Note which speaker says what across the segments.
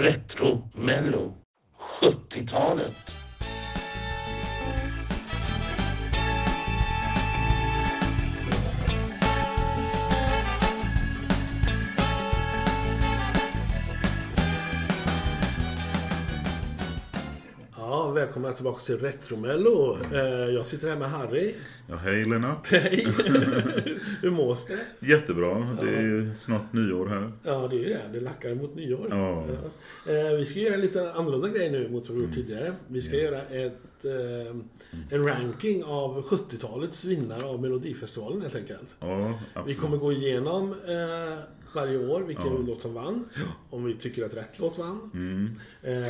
Speaker 1: Retro-mello. 70-talet.
Speaker 2: Ja, välkomna tillbaka till Retromello. Eh, Jag sitter här med Harry.
Speaker 3: Ja, hej Lennart.
Speaker 2: Hej! Hur mås det?
Speaker 3: Jättebra. Det är ju snart nyår här.
Speaker 2: Ja, det är ju det. Det lackar mot nyår.
Speaker 3: Ja.
Speaker 2: Eh, Vi ska göra en lite annorlunda grej nu mot vad vi gjort tidigare. Vi ska göra ett, eh, en ranking av 70-talets vinnare av Melodifestivalen helt enkelt.
Speaker 3: Ja,
Speaker 2: Vi
Speaker 3: absolut.
Speaker 2: kommer gå igenom eh, varje år vilken låt som vann. Om vi tycker att rätt låt vann.
Speaker 3: Mm.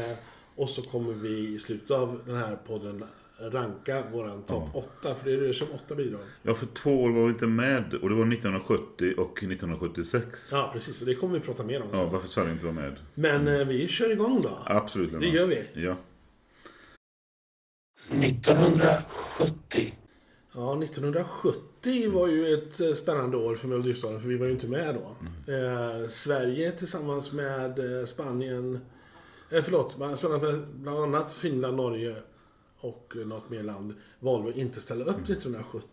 Speaker 2: Eh, och så kommer vi i slutet av den här podden ranka våran topp 8. För det rör sig om 8 bidrag.
Speaker 3: Ja, för två år var vi inte med och det var 1970 och 1976.
Speaker 2: Ja, precis. Och det kommer vi prata mer om sen.
Speaker 3: Ja, varför Sverige inte var med?
Speaker 2: Men eh, vi kör igång då.
Speaker 3: Absolut Lennart.
Speaker 2: Det gör vi.
Speaker 3: Ja.
Speaker 1: 1970.
Speaker 2: Ja, 1970 var ju ett eh, spännande år för Melodifestivalen för vi var ju inte med då. Eh, Sverige tillsammans med eh, Spanien, eh, förlåt, men Spanien, med bland annat Finland, Norge och eh, något mer land valde att inte ställa upp 1970.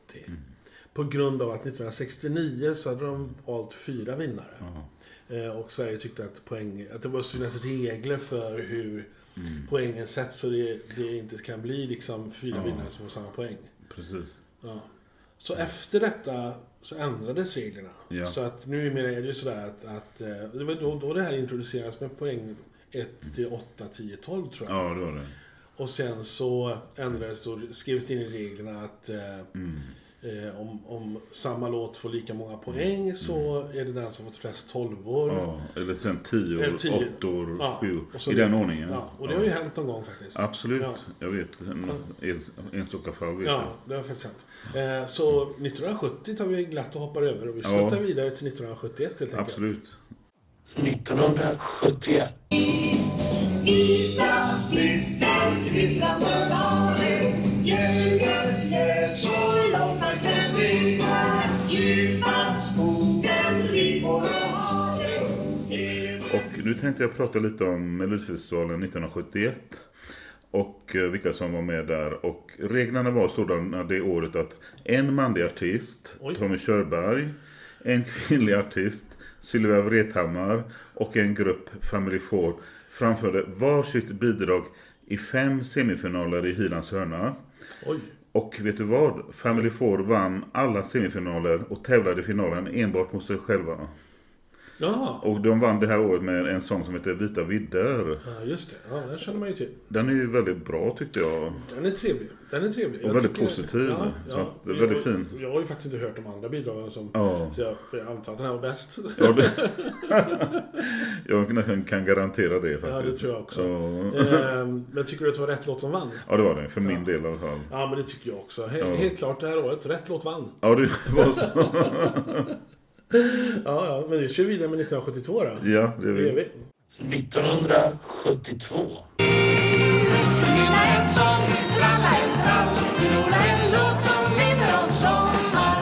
Speaker 2: På grund av att 1969 så hade de valt fyra vinnare. Eh, och Sverige tyckte att, poäng, att det måste finnas regler för hur poängen sätts så det, det inte kan bli liksom fyra vinnare som får samma poäng.
Speaker 3: Precis.
Speaker 2: Ja. Så efter detta så ändrades reglerna.
Speaker 3: Ja.
Speaker 2: Så att numera är det ju sådär att, att eh, det var då, då det här introduceras med poäng 1 till 8, 10, 12 tror jag.
Speaker 3: Ja, det var det.
Speaker 2: Och sen så ändrades då, skrevs det in i reglerna att eh,
Speaker 3: Mm.
Speaker 2: eh, om, om samma låt får lika många
Speaker 3: Mm.
Speaker 2: poäng så är det den som fått flest tolvor.
Speaker 3: Ja, eller sen 10
Speaker 2: Eller
Speaker 3: år,
Speaker 2: tio-
Speaker 3: 8 år,
Speaker 2: ja,
Speaker 3: 7
Speaker 2: och så
Speaker 3: I
Speaker 2: vidare.
Speaker 3: den ordningen.
Speaker 2: Ja, och det har ju hänt någon gång faktiskt.
Speaker 3: Absolut.
Speaker 2: Ja.
Speaker 3: Jag vet. En, en- enstaka fall vet
Speaker 2: Ja, det har faktiskt hänt. Eh, så 1970 tar vi glatt och hoppar över och vi
Speaker 3: Ja.
Speaker 2: skuttar vidare till 1971 helt enkelt.
Speaker 3: jag. Absolut.
Speaker 1: 1971.
Speaker 4: Vita flickan gnisslande staden Gällens ljö så långt man kan se Djupa skogen, ripor och havet
Speaker 3: Och nu tänkte jag prata lite om Melodifestivalen 1971 och eh, vilka som var med där. Och reglerna var sådana det året att en manlig artist,
Speaker 2: Oj.
Speaker 3: Tommy Körberg, en kvinnlig artist, Sylvia Vrethammar och en grupp Family Four framförde varsitt bidrag i fem semifinaler i Hylands hörna.
Speaker 2: Oj.
Speaker 3: Och vet du vad? Family Four vann alla semifinaler och tävlade i finalen enbart mot sig själva.
Speaker 2: Jaha.
Speaker 3: Och de vann det här året med en sång som heter Vita vidder.
Speaker 2: Ja, just det. Ja, den känner man ju till.
Speaker 3: Den är ju väldigt bra tyckte jag.
Speaker 2: Den är trevlig. Den är trevlig. Jag
Speaker 3: väldigt positiv. Så att det är väldigt fin.
Speaker 2: Jag, jag har ju faktiskt inte hört de andra bidragen som...
Speaker 3: Ja.
Speaker 2: Så jag, jag antar att den här var bäst.
Speaker 3: Ja, det... jag nästan kan garantera det faktiskt.
Speaker 2: Ja, det tror jag också.
Speaker 3: Ja,
Speaker 2: Ehm, men tycker du att det var rätt låt som vann?
Speaker 3: ja det var det. För min del i alla fall.
Speaker 2: Ja, men det tycker jag också. He- Helt klart det här året. Rätt låt vann.
Speaker 3: Ja, det var så.
Speaker 2: Ja, ja. Men vi kör vidare med 1972 då.
Speaker 3: Ja, det är
Speaker 2: Det gör
Speaker 3: vi.
Speaker 2: vi.
Speaker 1: 1972.
Speaker 4: Trilla en sång, tralla en trall Trolla en låt som minner om sommar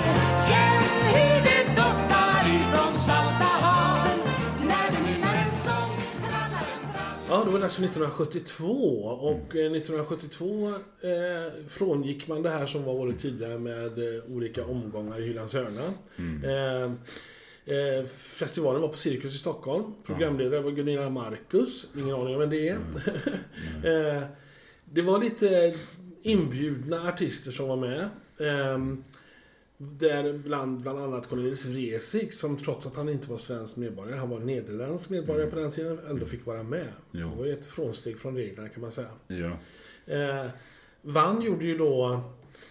Speaker 4: Känn hur det doftar ifrån salta haven När du minnar en sång, tralla en trall
Speaker 2: Ja, det var dags för 1972 och eh, 1972 eh, frångick man det här som var året tidigare med eh, olika omgångar i Hylands hörna. Eh, eh, festivalen var på Cirkus i Stockholm. Programledare var Gunilla Marcus. Ingen aning om vem det är. eh, det var lite inbjudna artister som var med. Eh, där bland, bland annat Cornelis Vreeswijk som trots att han inte var svensk medborgare, han var nederländsk medborgare på den tiden, ändå fick vara med.
Speaker 3: Mm. Jo.
Speaker 2: Det var ju ett frånsteg från reglerna kan man säga.
Speaker 3: Ja.
Speaker 2: Eh, Vann gjorde ju då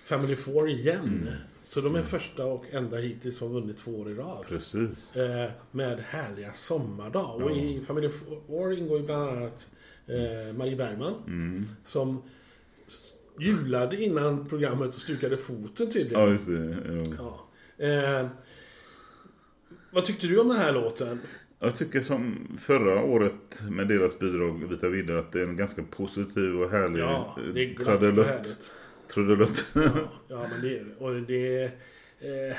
Speaker 2: Family Four igen.
Speaker 3: Mm.
Speaker 2: Så de är första och enda hittills som vunnit två år i rad.
Speaker 3: Precis.
Speaker 2: Eh, med härliga sommardag. Och i Family Four ingår ju bland annat eh, Marie Bergman.
Speaker 3: Mm.
Speaker 2: Som julade innan programmet och stukade foten tydligen.
Speaker 3: Ja, just det. Ja.
Speaker 2: Ja. Eh, vad tyckte du om den här låten?
Speaker 3: Jag tycker som förra året med deras bidrag Vita vidder att det är en ganska positiv och härlig
Speaker 2: Ja,
Speaker 3: eh,
Speaker 2: det är glatt och
Speaker 3: trudelutt.
Speaker 2: härligt.
Speaker 3: Trudelutt.
Speaker 2: Ja, men det är det. Och det är... Eh,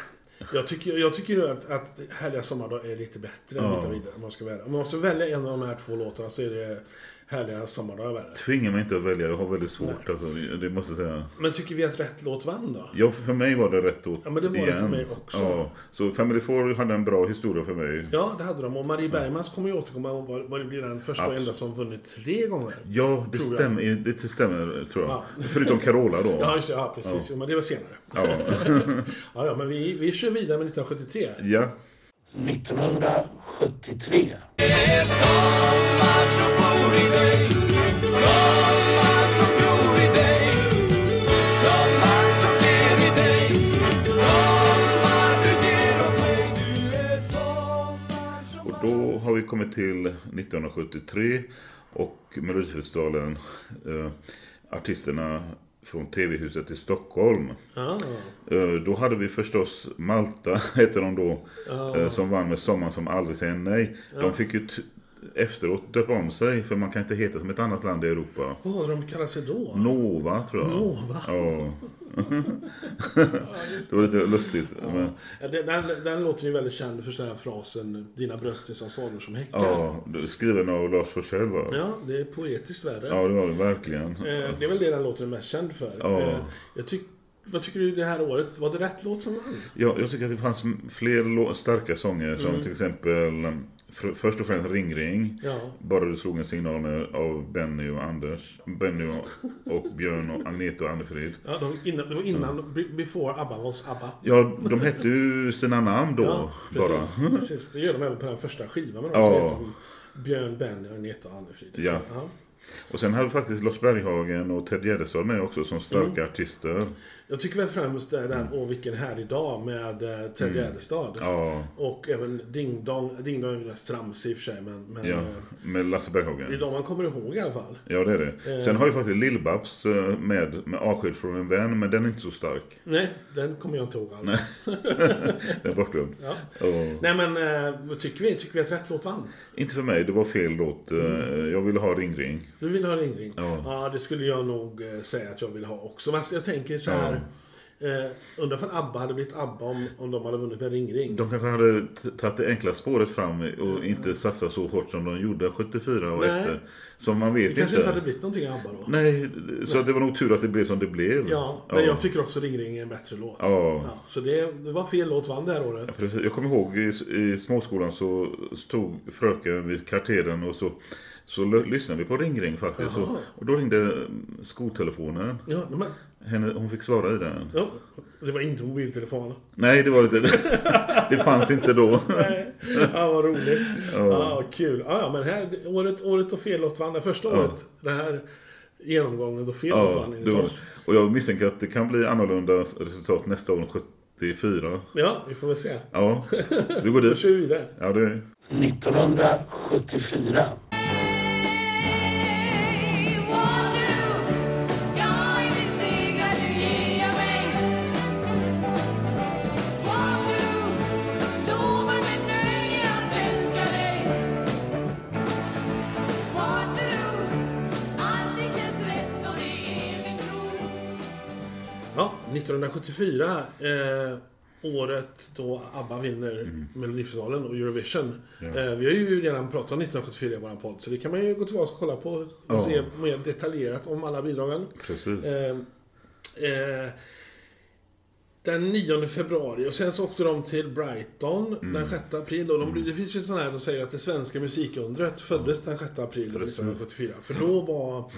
Speaker 2: Jag tycker, jag tycker ju att, att Härliga sommardag är lite bättre än
Speaker 3: Ja.
Speaker 2: Vita vidare om man ska välja. Om man måste välja en av de här två låtarna så är det Härliga sommardag värre.
Speaker 3: Tvinga mig inte att välja, jag har väldigt svårt alltså, det måste jag säga.
Speaker 2: Men tycker vi att rätt låt vann då?
Speaker 3: Ja, för mig var det rätt åt
Speaker 2: Ja, men det var det
Speaker 3: igen.
Speaker 2: för mig också.
Speaker 3: Ja, så Family Four hade en bra historia för mig.
Speaker 2: Ja, det hade de. Och Marie Bergmans kommer ju återkomma och vad- vad det blir den första och
Speaker 3: Abs-
Speaker 2: enda som vunnit tre gånger.
Speaker 3: Ja, det,
Speaker 2: Tror jag.
Speaker 3: stämmer, det stämmer tror jag.
Speaker 2: Ja.
Speaker 3: Förutom Carola då.
Speaker 2: Ja, just det. Ja, precis. Jo, men det var senare.
Speaker 3: Ja.
Speaker 2: Ja, ja men vi, vi kör vidare med 1973.
Speaker 3: ja.
Speaker 1: 1973.
Speaker 4: Det är sommar som bor i dig Sommar som gror i dig Sommar som ler i dig Sommar du ger åt mig Du är sommar som
Speaker 3: Och då har vi kommit till 1973 och Melodifestivalen. Eh, artisterna från TV-huset i Stockholm.
Speaker 2: Ah,
Speaker 3: Eh, Då hade vi förstås Malta, hette de då, eh, som vann med Sommaren som aldrig säger nej. De fick ju t- efteråt döpa om sig, för man kan inte heta som ett annat land i Europa.
Speaker 2: vad var det de kallade sig då?
Speaker 3: Nova, tror jag.
Speaker 2: Nova?
Speaker 3: Ja. det var lite lustigt. Men,
Speaker 2: Ja, den, den, den låten är ju väldigt känd för den här frasen Dina bröst är som svalor som häckar.
Speaker 3: ja, det- skriven av Lars Forssell, va?
Speaker 2: Ja, det är poetiskt värre.
Speaker 3: Ja, det var det verkligen.
Speaker 2: Eh, Det är väl det den låten är mest känd för.
Speaker 3: Ja.
Speaker 2: Eh, Jag tyck, vad tycker du det här året? Var det rätt låt som vann?
Speaker 3: Jag, jag tycker att det fanns m- fler lå- starka sånger, som till exempel eh, fr- först och främst Ring Ring.
Speaker 2: Mm. Ja.
Speaker 3: Bara du slog en signal med- av Benny och Anders. Benny och- och Björn och Agneta och Annefrid.
Speaker 2: ja de, innan, det var innan, be- before ABBA was ABBA.
Speaker 3: Ja, de hette ju sina namn då. bara.
Speaker 2: precis, precis. Det gör de även på den första skivan. Men de
Speaker 3: Ja.
Speaker 2: heter de Björn, Benny, Agneta och Anne-Frid.
Speaker 3: Ja.
Speaker 2: Så, ja.
Speaker 3: Och sen hade faktiskt Lars Berghagen och Ted Gärdestad med också som starka
Speaker 2: Mm.
Speaker 3: artister.
Speaker 2: Jag tycker väl främst det är den
Speaker 3: Mm.
Speaker 2: Åh vilken härlig dag med eh, Ted Gärdestad.
Speaker 3: Ja,
Speaker 2: Och även Ding Dong. Ding Dong är ju mest tramsig i och för sig men, men
Speaker 3: ja.
Speaker 2: eh,
Speaker 3: Med Lasse
Speaker 2: det är
Speaker 3: Berghagen.
Speaker 2: de man kommer ihåg i alla fall.
Speaker 3: Ja, det är
Speaker 2: Eh.
Speaker 3: det. Sen har ju faktiskt Lill-Babs eh, med, med Avsked från en vän, men den är inte så stark.
Speaker 2: Nej, den kommer jag inte ihåg alls.
Speaker 3: Den är bortglömd.
Speaker 2: Ja.
Speaker 3: Och-
Speaker 2: Nej men eh, vad tycker vi? Tycker vi att rätt låt vann?
Speaker 3: Inte för mig, det var fel låt. Eh, Jag ville ha Ring Ring.
Speaker 2: Du vill ha Ring Ring?
Speaker 3: Ja.
Speaker 2: ja, det skulle jag nog eh, säga att jag vill ha också. Men jag tänker så här. Eh, undrar för ABBA hade blivit ABBA om, om de hade vunnit med Ring Ring.
Speaker 3: De kanske hade t- tagit det enkla spåret fram och inte satsat så hårt som de gjorde 74 och
Speaker 2: Nej.
Speaker 3: efter. Som man vet
Speaker 2: det
Speaker 3: inte.
Speaker 2: kanske inte hade blivit någonting av ABBA då.
Speaker 3: Nej, så att det var nog tur att det blev som det blev.
Speaker 2: Ja, men jag tycker också Ring Ring är en bättre låt.
Speaker 3: Ja.
Speaker 2: så det, det var fel låt vann det här året.
Speaker 3: Precis. Alltså, Jag kommer ihåg i, i småskolan så stod fröken vid katedern och så, så l- lyssnade vi på Ring Ring faktiskt. Så, och då ringde mm, skoltelefonen.
Speaker 2: Ja, men,
Speaker 3: Henne, hon fick svara i den.
Speaker 2: ja, det var inte mobiltelefon.
Speaker 3: Nej, det var inte det. fanns inte då.
Speaker 2: ja, vad roligt. Ja, kul. Ja, ja, men här, året, året och fel låt vann. Det första året, den här genomgången då fel låt
Speaker 3: Ja,
Speaker 2: vann. enligt
Speaker 3: det var,
Speaker 2: oss.
Speaker 3: och jag misstänker att det kan bli annorlunda resultat nästa år, 74.
Speaker 2: Ja, vi får väl se.
Speaker 3: Ja, vi går
Speaker 2: Då kör
Speaker 3: dit.
Speaker 2: vi vidare.
Speaker 3: Ja, det
Speaker 1: 1974.
Speaker 2: Ja, 1974, eh, året då ABBA vinner
Speaker 3: Mm.
Speaker 2: Melodifestivalen och Eurovision. Eh, vi har ju redan pratat om 1974 i vår podd, så det kan man ju gå tillbaka och kolla på och
Speaker 3: Ja.
Speaker 2: se mer detaljerat om alla bidragen.
Speaker 3: Precis.
Speaker 2: Eh, eh, den 9 februari och sen så åkte de till Brighton
Speaker 3: Mm.
Speaker 2: den 6 april. Och de, Det finns ju sådana här som säger att det svenska musikundret föddes den 6 april 1974. För då
Speaker 3: Mm.
Speaker 2: var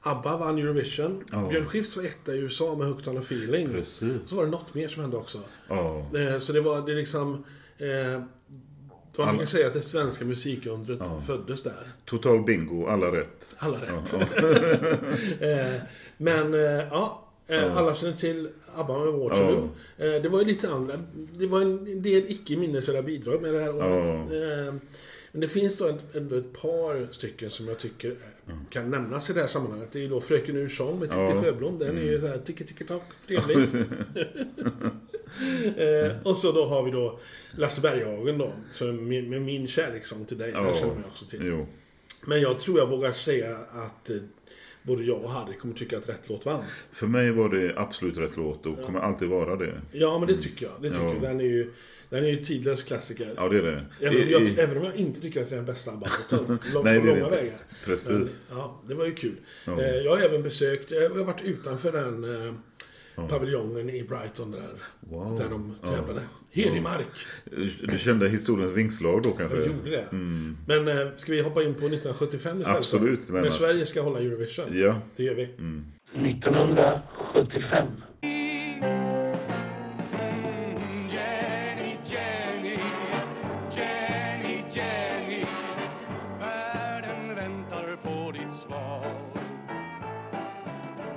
Speaker 2: ABBA vann Eurovision. Björn Skifs var etta i USA med Hooked on a feeling.
Speaker 3: Precis.
Speaker 2: Så var det något mer som hände också.
Speaker 3: Ja.
Speaker 2: Eh, så det var det är liksom... Eh, man brukar säga att det svenska musikundret föddes där.
Speaker 3: Total bingo, alla rätt.
Speaker 2: Alla rätt. Eh, Men eh, ja, eh, alla känner till ABBA med Waterloo. Eh, Det var ju lite andra. Det var en del icke minnesvärda bidrag med det här året. Eh, Men det finns då ett- ändå ett par stycken som jag tycker eh, kan nämnas i det här sammanhanget. Det är ju då Fröken Ursång med Titti
Speaker 3: Mm. Ja. Mm.
Speaker 2: Sjöblom. Den är ju såhär ticke ticke tack trevlig. Eh, och så då har vi då Lasse Berghagen då, som med, med min kärlekssång till dig. Den
Speaker 3: Ja.
Speaker 2: känner man ju också till.
Speaker 3: Jo.
Speaker 2: Men jag tror jag vågar säga att eh, både jag och Harry kommer tycka att rätt låt vann.
Speaker 3: För mig var det absolut rätt låt och kommer alltid vara det.
Speaker 2: Ja, men det tycker jag. Det tycker
Speaker 3: Mm. Ja.
Speaker 2: jag. Den är ju, den är ju tidlös klassiker.
Speaker 3: Ja, det är det.
Speaker 2: Även, om
Speaker 3: I-
Speaker 2: jag,
Speaker 3: i-
Speaker 2: även om jag inte tycker att det är den bästa ABBA-låten. lång,
Speaker 3: Nej,
Speaker 2: på
Speaker 3: det är det
Speaker 2: långa
Speaker 3: inte.
Speaker 2: vägar.
Speaker 3: Precis.
Speaker 2: Men, ja, det var ju kul. Eh, Jag har även besökt, eh, jag har varit utanför den eh, paviljongen i Brighton där.
Speaker 3: Wow.
Speaker 2: Där de tävlade. Helig mark.
Speaker 3: Du kände historiens vingslag då kanske?
Speaker 2: Jag gjorde det. Men eh, ska vi hoppa in på 1975 istället?
Speaker 3: Mm. Absolut,
Speaker 2: När
Speaker 3: Lennart.
Speaker 2: Sverige ska hålla Eurovision.
Speaker 3: Ja. Mm,
Speaker 2: Det gör vi.
Speaker 1: 1975.
Speaker 4: Jenny, Jenny, Jenny, Jenny Världen väntar på ditt svar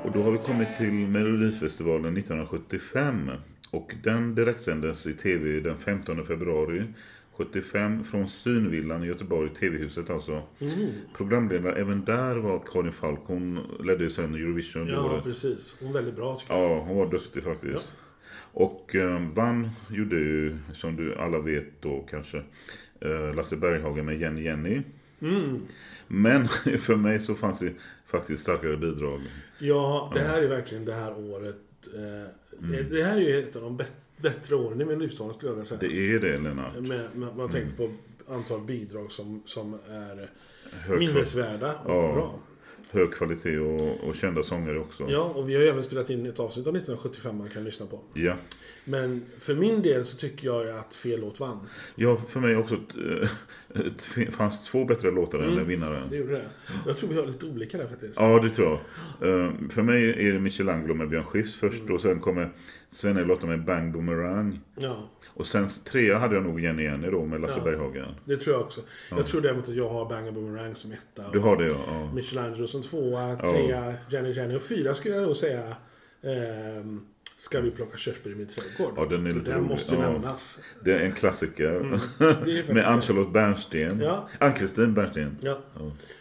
Speaker 3: Och då har vi kommit till Melodifestivalen 1975. Och den direktsändes i tv den 15 februari 75 från Synvillan i Göteborg, TV-huset alltså.
Speaker 2: Mm.
Speaker 3: Programledare även där var Karin Falk. Hon ledde ju sen Eurovision det
Speaker 2: Ja,
Speaker 3: året.
Speaker 2: precis. Hon är väldigt bra tycker jag.
Speaker 3: Ja, hon var duktig faktiskt. Och eh, vann gjorde ju, som du alla vet då kanske, eh, Lasse Berghagen med Jenny Jenny. Men för mig så fanns det faktiskt starkare bidrag.
Speaker 2: Ja, det här är verkligen det här året. Eh,
Speaker 3: Mm.
Speaker 2: Det här är ju ett av de bä- bättre åren i min livsålder skulle jag vilja säga.
Speaker 3: Det Mm. är det Lennart.
Speaker 2: Med, med, man tänker på antal bidrag som, som är
Speaker 3: Hög
Speaker 2: minnesvärda och
Speaker 3: Ja.
Speaker 2: bra.
Speaker 3: Hög kvalitet och, och kända sångare också.
Speaker 2: Ja, och vi har ju även spelat in ett avsnitt av 1975 man kan lyssna på.
Speaker 3: Ja.
Speaker 2: Men för min del så tycker jag ju att fel låt vann.
Speaker 3: Ja, för mig också eh, det fanns två bättre låtar än den vinnaren.
Speaker 2: Det gjorde det. Jag tror vi har lite olika där faktiskt.
Speaker 3: Ja, det tror jag. Eh, För mig är det Michelangelo med Björn Skifs först och sen kommer Svenne-Lotta med Bang Boomerang.
Speaker 2: Ja,
Speaker 3: Och sen trea hade jag nog Jenny Jenny då med Lasse
Speaker 2: Ja.
Speaker 3: Berghagen.
Speaker 2: det tror jag också. Jag tror däremot att jag har Bang Boomerang som etta.
Speaker 3: Du
Speaker 2: Och
Speaker 3: har det ja. ja.
Speaker 2: Michelangelo som tvåa, trea, Jenny Jenny och fyra skulle jag nog säga. ehm, ska vi plocka körsbär i min trädgård?
Speaker 3: Ja, den är
Speaker 2: För
Speaker 3: lite
Speaker 2: den
Speaker 3: rolig.
Speaker 2: måste ju
Speaker 3: Ja.
Speaker 2: nämnas.
Speaker 3: Det är en klassiker.
Speaker 2: Mm. Det är faktiskt
Speaker 3: med Ann-Charlotte Bernsten.
Speaker 2: Ja.
Speaker 3: Ann-Kristin Bernsten.
Speaker 2: Ja.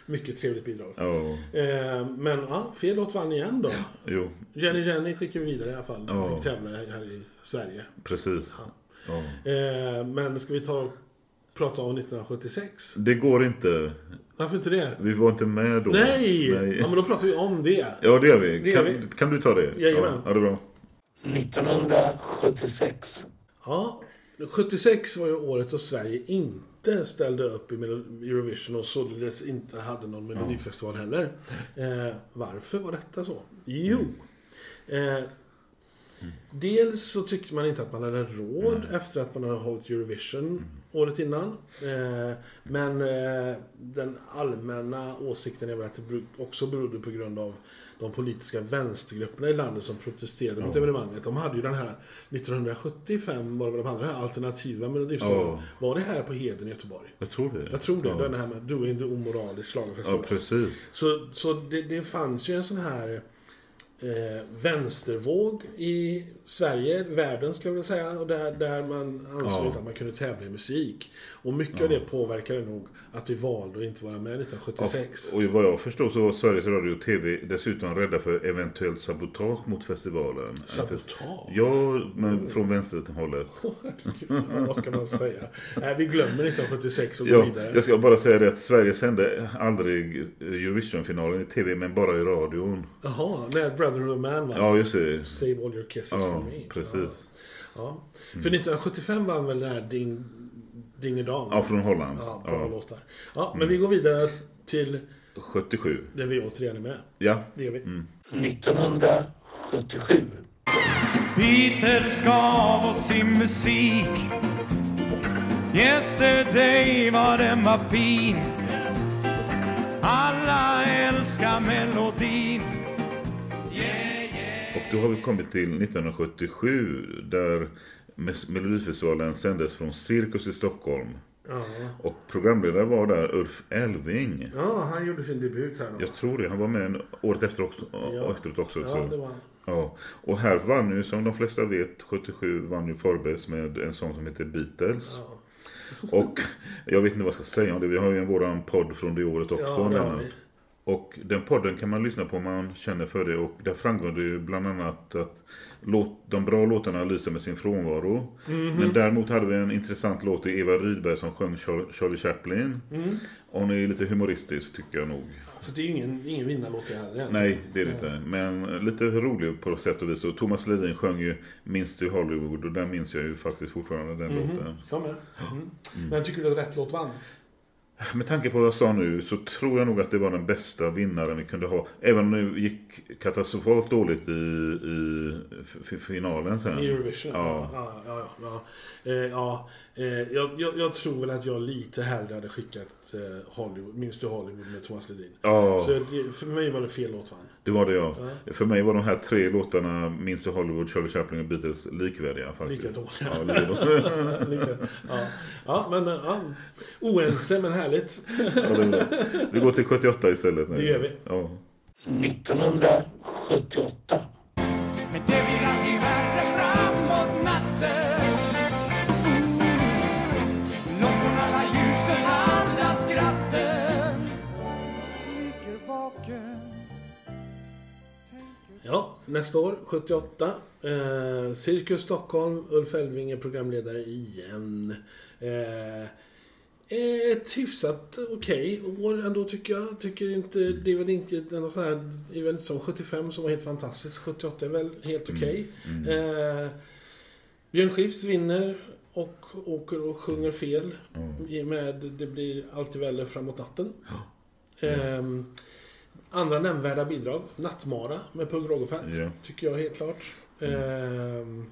Speaker 2: Mycket trevligt bidrag.
Speaker 3: Ja,
Speaker 2: Eh, men ja, fel låt vann igen då.
Speaker 3: jo,
Speaker 2: Jenny Jenny skickar vi vidare i alla fall.
Speaker 3: Ja.
Speaker 2: Fick tävla här i Sverige.
Speaker 3: precis. Ja.
Speaker 2: Eh, men ska vi ta prata om 1976?
Speaker 3: Det går inte.
Speaker 2: Varför inte det?
Speaker 3: Vi var inte med då.
Speaker 2: Nej!
Speaker 3: Nej.
Speaker 2: Ja, men då pratar vi om det.
Speaker 3: Ja, det gör vi.
Speaker 2: Det
Speaker 3: kan,
Speaker 2: gör vi.
Speaker 3: kan du ta det?
Speaker 2: Jajamän.
Speaker 3: Ja, ja, det är bra.
Speaker 1: 1976.
Speaker 2: Ja, 76 var ju året då Sverige inte ställde upp i Melo- Eurovision och således inte hade någon melodifestival heller. Eh, varför var detta så? Jo. Eh, dels så tyckte man inte att man hade råd efter att man hade hållit
Speaker 3: Mm.
Speaker 2: Eurovision året innan. Eh, men eh, den allmänna åsikten är väl att det bero- också berodde på grund av de politiska vänstergrupperna i landet som protesterade mot evenemanget. De hade ju den här, 1975 var det väl de hade den här alternativa melodifestivalen.
Speaker 3: Ja.
Speaker 2: Var det här på Heden i Göteborg?
Speaker 3: Jag tror det.
Speaker 2: Jag tror det.
Speaker 3: Ja,
Speaker 2: Den här med Du är inte omoralisk
Speaker 3: ja
Speaker 2: schlagerfestival.
Speaker 3: precis.
Speaker 2: Så, så det, det fanns ju en sån här eh, vänstervåg i Sverige, världen ska jag vilja säga, och där, där man ansåg
Speaker 3: Ja.
Speaker 2: inte att man kunde tävla i musik. Och mycket av det påverkade nog att vi valde att inte vara med 1976.
Speaker 3: Och vad jag förstår så var Sveriges Radio och TV dessutom rädda för eventuellt sabotage mot festivalen.
Speaker 2: Sabotage?
Speaker 3: Ja, men från vänsterhållet.
Speaker 2: Herregud, ja, vad ska man säga? Nej, vi glömmer 1976 och går
Speaker 3: Ja,
Speaker 2: vidare.
Speaker 3: jag ska bara säga det att Sverige sände aldrig Eurovision-finalen i TV, men bara i radion.
Speaker 2: Jaha, nej, Brotherhood of Man va?
Speaker 3: Ja, just det.
Speaker 2: Save all your kisses
Speaker 3: Ja,
Speaker 2: from me.
Speaker 3: precis. Mm.
Speaker 2: Ja. Ja. För 1975 vann väl den här Ding... Dingedong?
Speaker 3: Ja, från Holland.
Speaker 2: Ja, bra
Speaker 3: Ja, Mm.
Speaker 2: låtar. Ja, men vi går vidare till
Speaker 3: 77.
Speaker 2: där vi återigen är med.
Speaker 3: Ja.
Speaker 2: Det gör vi.
Speaker 3: Mm.
Speaker 1: 1977.
Speaker 5: Beatles gav oss sin musik Yesterday var den var fin Alla älskar melodin
Speaker 3: Och då har vi kommit till 1977 där Mes- Melodifestivalen sändes från Cirkus i Stockholm.
Speaker 2: Ja.
Speaker 3: Och programledare var där Ulf Elving.
Speaker 2: ja, han gjorde sin debut här då.
Speaker 3: Jag tror det, han var med en- året efter också,
Speaker 2: Ja.
Speaker 3: efteråt också.
Speaker 2: Ja,
Speaker 3: tror jag.
Speaker 2: det var han.
Speaker 3: ja. Och här vann ju, som de flesta vet, 77 vann ju Forbes med en sång som heter Beatles. Och jag vet inte vad jag ska säga om det, vi har ju en våran podd från det året också.
Speaker 2: Ja, det har
Speaker 3: Lennart.
Speaker 2: vi.
Speaker 3: Och den podden kan man lyssna på om man känner för det. Och där framgår det ju bland annat att låt, de bra låtarna lyser med sin frånvaro.
Speaker 2: Mhm.
Speaker 3: Men däremot hade vi en intressant låt i Eva Rydberg som sjöng Char- Charlie Chaplin.
Speaker 2: Mm.
Speaker 3: Och Hon är lite humoristisk tycker jag nog.
Speaker 2: För det är ju ingen, ingen vinnarlåt det här. egentligen.
Speaker 3: Nej, det är det inte. Men lite rolig på sätt och vis. Och Thomas Ledin sjöng ju Minns du Hollywood? Och den minns jag ju faktiskt fortfarande,
Speaker 2: Mhm.
Speaker 3: den låten.
Speaker 2: Jag med. Mm. Men tycker du att rätt låt vann?
Speaker 3: Med tanke på vad jag sa nu så tror jag nog att det var den bästa vinnaren vi kunde ha. Även om det gick katastrofalt dåligt i, i f- f- finalen sen.
Speaker 2: I Eurovision?
Speaker 3: Ja.
Speaker 2: Ja, ja, ja, ja. Eh, ja. Eh, jag, jag, jag tror väl att jag lite hellre hade skickat eh, Hollywood, Minns du Hollywood med Thomas Ledin.
Speaker 3: Ja,
Speaker 2: Så det, för mig var det fel låt vann.
Speaker 3: det var det ja. För mig var de här tre låtarna, Minns du Hollywood, Charlie Chaplin och Beatles, likvärdiga faktiskt.
Speaker 2: Lika dåliga.
Speaker 3: Ja, lika dåliga.
Speaker 2: Lite, ja. ja, men eh, ja. oense men härligt.
Speaker 3: Ja, det var det. Vi går till 78 istället. Nu.
Speaker 2: Det gör vi.
Speaker 3: Ja.
Speaker 1: 1978.
Speaker 4: Men det blir alltid värre framåt natten Långt från alla ljusen, alla skratten Ligger vaken
Speaker 2: Ja, nästa år, 78. Eh, Cirkus Stockholm, Ulf Elving är programledare igen. Eh, eh, ett hyfsat okej år ändå tycker jag. Tycker inte, det är väl inte någon sån här, det är väl inte som 75 som var helt fantastiskt. 78 är väl helt
Speaker 3: Mm,
Speaker 2: okej. Eh, Björn Skifs vinner och åker och sjunger fel.
Speaker 3: Mm.
Speaker 2: I och med Det blir alltid väl framåt natten. Ehm, Andra nämnvärda bidrag. Nattmara med Pugh Rogefeldt.
Speaker 3: Ja. Mm.
Speaker 2: Tycker jag helt klart. Ehm,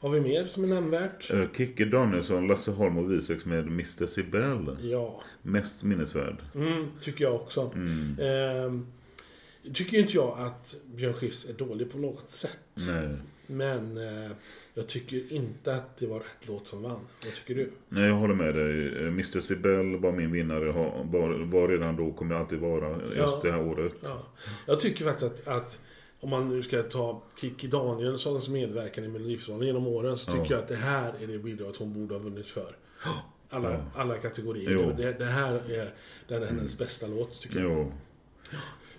Speaker 2: har vi mer som är nämnvärt?
Speaker 3: Eh, Kikki Danielsson, Lasse Holm och Wisex med Mr. Sibel.
Speaker 2: Ja,
Speaker 3: Mest minnesvärd.
Speaker 2: mm, tycker jag också.
Speaker 3: Mm.
Speaker 2: Ehm, tycker ju inte jag att Björn Skifs är dålig på något sätt.
Speaker 3: Nej.
Speaker 2: Men eh, jag tycker inte att det var rätt låt som vann. Vad tycker du?
Speaker 3: Nej, jag håller med dig. Eh, Mr. Sibel var min vinnare, ha- var, var redan då, kommer alltid vara just
Speaker 2: Ja.
Speaker 3: det här året.
Speaker 2: Ja. Jag tycker faktiskt att, att om man nu ska ta Kikki Danielssons medverkan i Melodifestivalen genom åren så tycker jag att det här är det bidraget hon borde ha vunnit för. Alla, alla kategorier.
Speaker 3: Jo. Mm.
Speaker 2: Det, det här är den, hennes bästa låt tycker jag.
Speaker 3: Jo.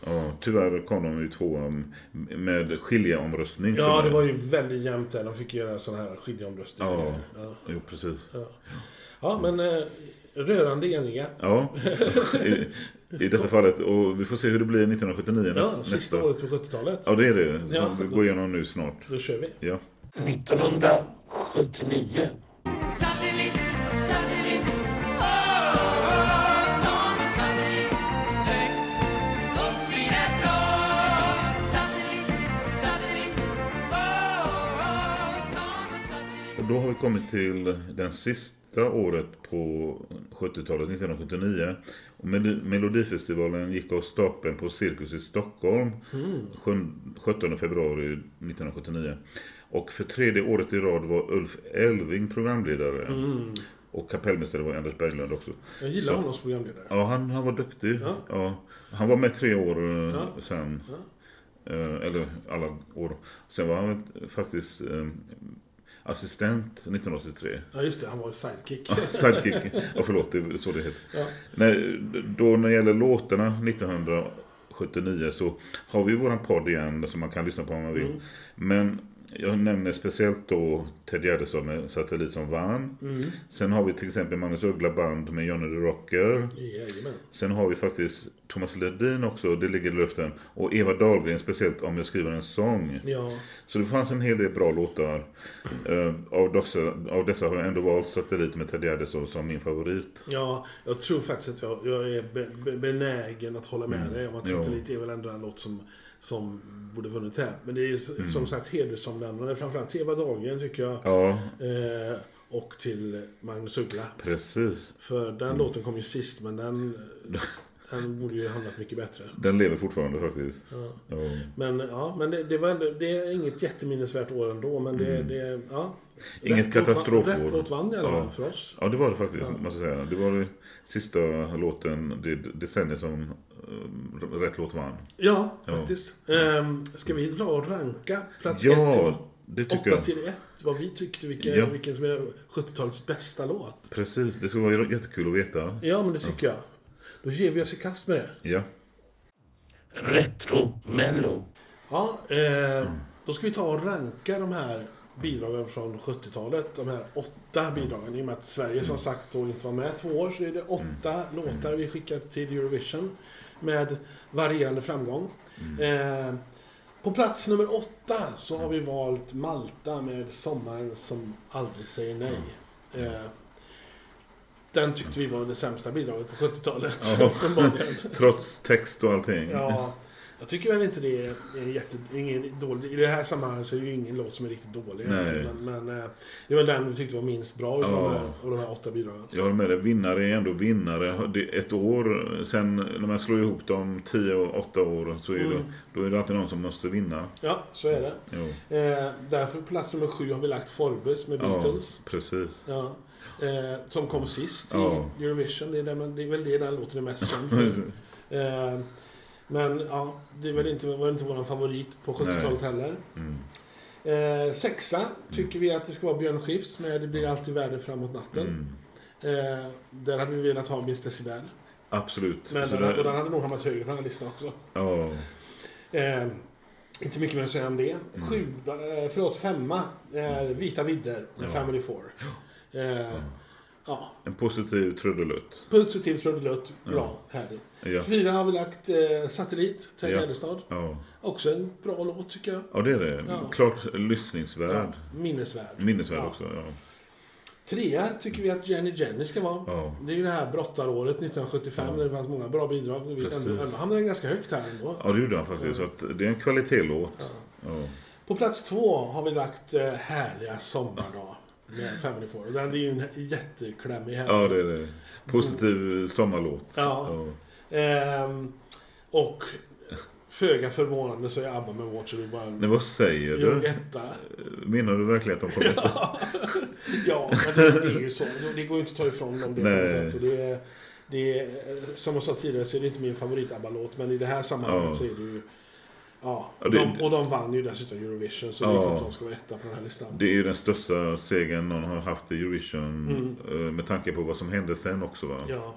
Speaker 3: Ja, tyvärr kom de ju tvåa m- med skiljeomröstning.
Speaker 2: Ja,
Speaker 3: Så-
Speaker 2: det var ju väldigt jämnt där. De fick göra sådana här skiljeomröstningar.
Speaker 3: Ja,
Speaker 2: Ja.
Speaker 3: jo, precis. Ja,
Speaker 2: ja, men eh, rörande eniga.
Speaker 3: I, i detta fallet. Och vi får se hur det blir 1979
Speaker 2: Ja,
Speaker 3: näs-
Speaker 2: sista
Speaker 3: nästa.
Speaker 2: året på 70-talet.
Speaker 3: Ja, det är det. Som
Speaker 2: Ja.
Speaker 3: vi går igenom nu snart.
Speaker 2: Då kör vi.
Speaker 3: Ja.
Speaker 1: 1979.
Speaker 4: Satellit, satellit oh, Åh, som en satellit Högt upp i den blå Satellit, satellit oh, Åh, som en satellit
Speaker 3: Och då har vi kommit till den sista året på 70-talet, 1979. Och Mel- Melodifestivalen gick av stapeln på Cirkus i Stockholm sjun- 17 februari 1979. Och för tredje året i rad var Ulf Elving programledare. Och kapellmästare var Anders Berglund också.
Speaker 2: Jag gillar
Speaker 3: Så-
Speaker 2: honom som programledare.
Speaker 3: Ja, han, han var duktig. Ja.
Speaker 2: Ja.
Speaker 3: han var med tre år eh, sen. Eh, eller alla år. Sen var han väl faktiskt eh, assistent 1983.
Speaker 2: Ja, just det. Han var ju sidekick.
Speaker 3: Sidekick. Ja, förlåt, det är så det heter.
Speaker 2: Ja.
Speaker 3: Nej, då när det gäller låtarna 1979 så har vi våran podd igen som man kan lyssna på om man vill. Men jag nämner speciellt då Ted Gärdestad med Satellit som vann. Sen har vi till exempel Magnus Uggla Band med Johnny the Rocker.
Speaker 2: Jajamän.
Speaker 3: Sen har vi faktiskt Thomas Ledin också, det ligger i luften. Och Eva Dahlgren, speciellt om jag skriver en sång.
Speaker 2: Ja.
Speaker 3: Så det fanns en hel del bra låtar. Eh, av, dessa, av dessa har jag ändå valt Satellit med Ted Gärdestad som min favorit.
Speaker 2: Ja, jag tror faktiskt att jag, jag är be, be, benägen att hålla med
Speaker 3: Mm.
Speaker 2: dig om att
Speaker 3: Ja.
Speaker 2: Satellit är väl ändå en låt som, som borde vunnit här. Men det är s- som sagt hedersomnämnande, framförallt till Eva Dahlgren tycker jag.
Speaker 3: Mm. Ja,
Speaker 2: Eh, och till Magnus Uggla.
Speaker 3: precis.
Speaker 2: För den
Speaker 3: Mm.
Speaker 2: låten kom ju sist, men den, den borde ju hamnat mycket bättre.
Speaker 3: Den lever fortfarande faktiskt. Ja.
Speaker 2: Men, ja, men det, det, var ändå, det är inget jätteminnesvärt år ändå, men det... det ja.
Speaker 3: Mm. Inget
Speaker 2: Rätt låt vann-
Speaker 3: katastrofår.
Speaker 2: Rätt låt vann i alla fall
Speaker 3: Ja.
Speaker 2: för oss.
Speaker 3: Ja, det var det faktiskt, måste jag säga. Det var det sista låten, det decenniet som eh, rätt låt vann.
Speaker 2: Ja, faktiskt. Ehm, ska vi dra och ranka plats 1
Speaker 3: Ja,
Speaker 2: till 8?
Speaker 3: det tycker jag.
Speaker 2: till 1, vad vi tyckte, vilken,
Speaker 3: Ja.
Speaker 2: vilken som är 70-talets bästa låt.
Speaker 3: Precis, det skulle vara jättekul att veta.
Speaker 2: Ja, men det tycker jag. Då ger vi oss i kast med det.
Speaker 3: Ja.
Speaker 1: retro-mello.
Speaker 2: Ja, eh, då ska vi ta och ranka de här bidragen från 70-talet. De här åtta bidragen. I och med att Sverige som sagt då inte var med två år så är det åtta låtar vi skickat till Eurovision. Med varierande framgång. Eh, på plats nummer åtta så har vi valt Malta med Sommaren som aldrig säger nej. Eh, den tyckte vi var det sämsta bidraget på 70-talet.
Speaker 3: Ja.
Speaker 2: uppenbarligen.
Speaker 3: Trots text och allting.
Speaker 2: Ja, jag tycker väl inte det är en jätte, ingen dålig. I det här sammanhanget så är det ju ingen låt som är riktigt dålig.
Speaker 3: Nej.
Speaker 2: egentligen, Men, men eh, det var den vi tyckte var minst bra utav
Speaker 3: Ja.
Speaker 2: de, här- av de här åtta bidragen.
Speaker 3: Jag håller med dig. Vinnare är ändå vinnare. Det är Ett år sen när man slår ihop dem, tio och åtta år, så är det, då är det alltid någon som måste vinna.
Speaker 2: Ja, så är det.
Speaker 3: Jo.
Speaker 2: Eh, därför på plats nummer sju har vi lagt Forbes med
Speaker 3: Ja,
Speaker 2: Beatles.
Speaker 3: precis.
Speaker 2: Ja. Eh, som kom sist i
Speaker 3: Ja.
Speaker 2: Eurovision. Det är, där, man- det är väl det den låten är mest känd för. Eh, men ja, det är väl inte, var inte vår favorit på 70-talet heller.
Speaker 3: Mm.
Speaker 2: Eh, sexa tycker vi att det ska vara Björn Skifs med Det blir alltid värre framåt
Speaker 3: Mm.
Speaker 2: natten. Eh, där hade vi velat ha Miss Decibel.
Speaker 3: Absolut.
Speaker 2: Men
Speaker 3: Så
Speaker 2: den,
Speaker 3: det-
Speaker 2: och den hade nog hamnat högre på den här listan också.
Speaker 3: ja.
Speaker 2: Eh, inte mycket mer att säga om det.
Speaker 3: Mm.
Speaker 2: Sju, eh, förlåt, femma är Vita vidder, med Family Four. Eh, ja,
Speaker 3: En positiv trudelutt.
Speaker 2: positiv trudelutt, bra, härligt.
Speaker 3: Ja.
Speaker 2: Fyra har vi lagt eh, Satellit, Ted
Speaker 3: Ja.
Speaker 2: Gärdestad.
Speaker 3: Ja.
Speaker 2: Också en bra låt tycker jag.
Speaker 3: ja, det är det.
Speaker 2: Ja.
Speaker 3: Klart lyssningsvärd.
Speaker 2: Minnesvärd.
Speaker 3: Minnesvärd
Speaker 2: Ja.
Speaker 3: också. Ja.
Speaker 2: Trea tycker vi att Jenny Jenny ska vara.
Speaker 3: Ja.
Speaker 2: Det är ju det här brottaråret 1975 när det fanns många bra bidrag. Vi
Speaker 3: Precis.
Speaker 2: ändå- ändå hamnade den ganska högt här ändå.
Speaker 3: ja, det gjorde han faktiskt. Så att det är en kvalitetslåt. Ja.
Speaker 2: På plats två har vi lagt eh, Härliga sommardag med Family Four. Och Den är ju en jätteklämmig härlig.
Speaker 3: ja, det är det. Positiv sommarlåt.
Speaker 2: Ja. Ehm, och föga förvånande så är ABBA med Water We
Speaker 3: Nej,
Speaker 2: Run
Speaker 3: vad säger
Speaker 2: Jo,
Speaker 3: du?
Speaker 2: etta.
Speaker 3: Menar du verkligen att de kommer ja.
Speaker 2: Ja, men det, det är ju så. Det går ju inte att ta ifrån dem det på något
Speaker 3: Nej.
Speaker 2: sätt. Och det, är- det, är, som jag sa tidigare så är det inte min favorit ABBA-låt, men i det här sammanhanget
Speaker 3: Ja.
Speaker 2: så är det ju... Ja,
Speaker 3: Ja, det-
Speaker 2: de, och de vann ju dessutom Eurovision, så det är
Speaker 3: Ja.
Speaker 2: klart de ska vara etta på den här listan.
Speaker 3: Det är ju den största segern någon har haft i Eurovision. eh, Med tanke på vad som hände sen också va?
Speaker 2: Ja.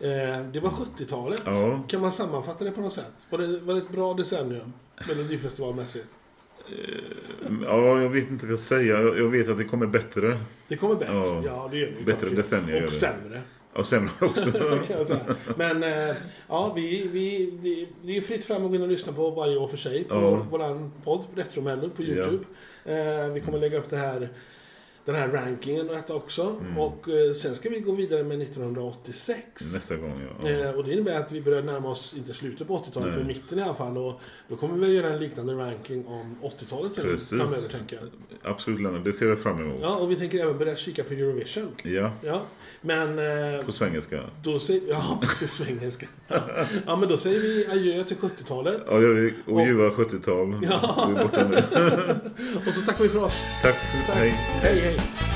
Speaker 2: Eh, det var 70-talet.
Speaker 3: Mm. Ja.
Speaker 2: Kan man sammanfatta det på något sätt? Var det, var det ett bra decennium? Melodifestivalmässigt.
Speaker 3: Mm, Ja, jag vet inte vad jag ska säga. Jag jag vet att det kommer bättre.
Speaker 2: Det kommer bättre. Ja,
Speaker 3: Ja.
Speaker 2: det gör det ju.
Speaker 3: Bättre
Speaker 2: klart.
Speaker 3: decennier gör
Speaker 2: Och
Speaker 3: det.
Speaker 2: sämre.
Speaker 3: Och sämre också.
Speaker 2: kan jag säga. Men eh, ja, vi, vi, det, det är fritt fram att gå in och lyssna på varje år för sig på
Speaker 3: Ja.
Speaker 2: vår podd Retromello på Youtube. Eh, vi kommer lägga upp det här, den här rankingen och detta också.
Speaker 3: Mm.
Speaker 2: Och eh, sen ska vi gå vidare med 1986.
Speaker 3: Nästa gång ja. ja.
Speaker 2: Eh, och det innebär att vi börjar närma oss, inte slutet på 80-talet,
Speaker 3: Nej.
Speaker 2: men mitten i alla fall. Och då kommer vi göra en liknande ranking om 80-talet sen
Speaker 3: Precis.
Speaker 2: framöver tänker jag.
Speaker 3: Absolut Lennart, det ser jag fram emot. Ja.
Speaker 2: Ja, och vi tänker även börja kika på Eurovision. Ja, men... Eh,
Speaker 3: På svengelska.
Speaker 2: då säger, ja, precis svengelska. Ja, men då säger vi adjö till 70-talet.
Speaker 3: Ja, jag vill- och ljuva 70-tal. Vi är borta nu.
Speaker 2: Och så tackar vi för oss.
Speaker 3: Tack.
Speaker 2: Tack.
Speaker 3: Hej.
Speaker 2: Hej, hej.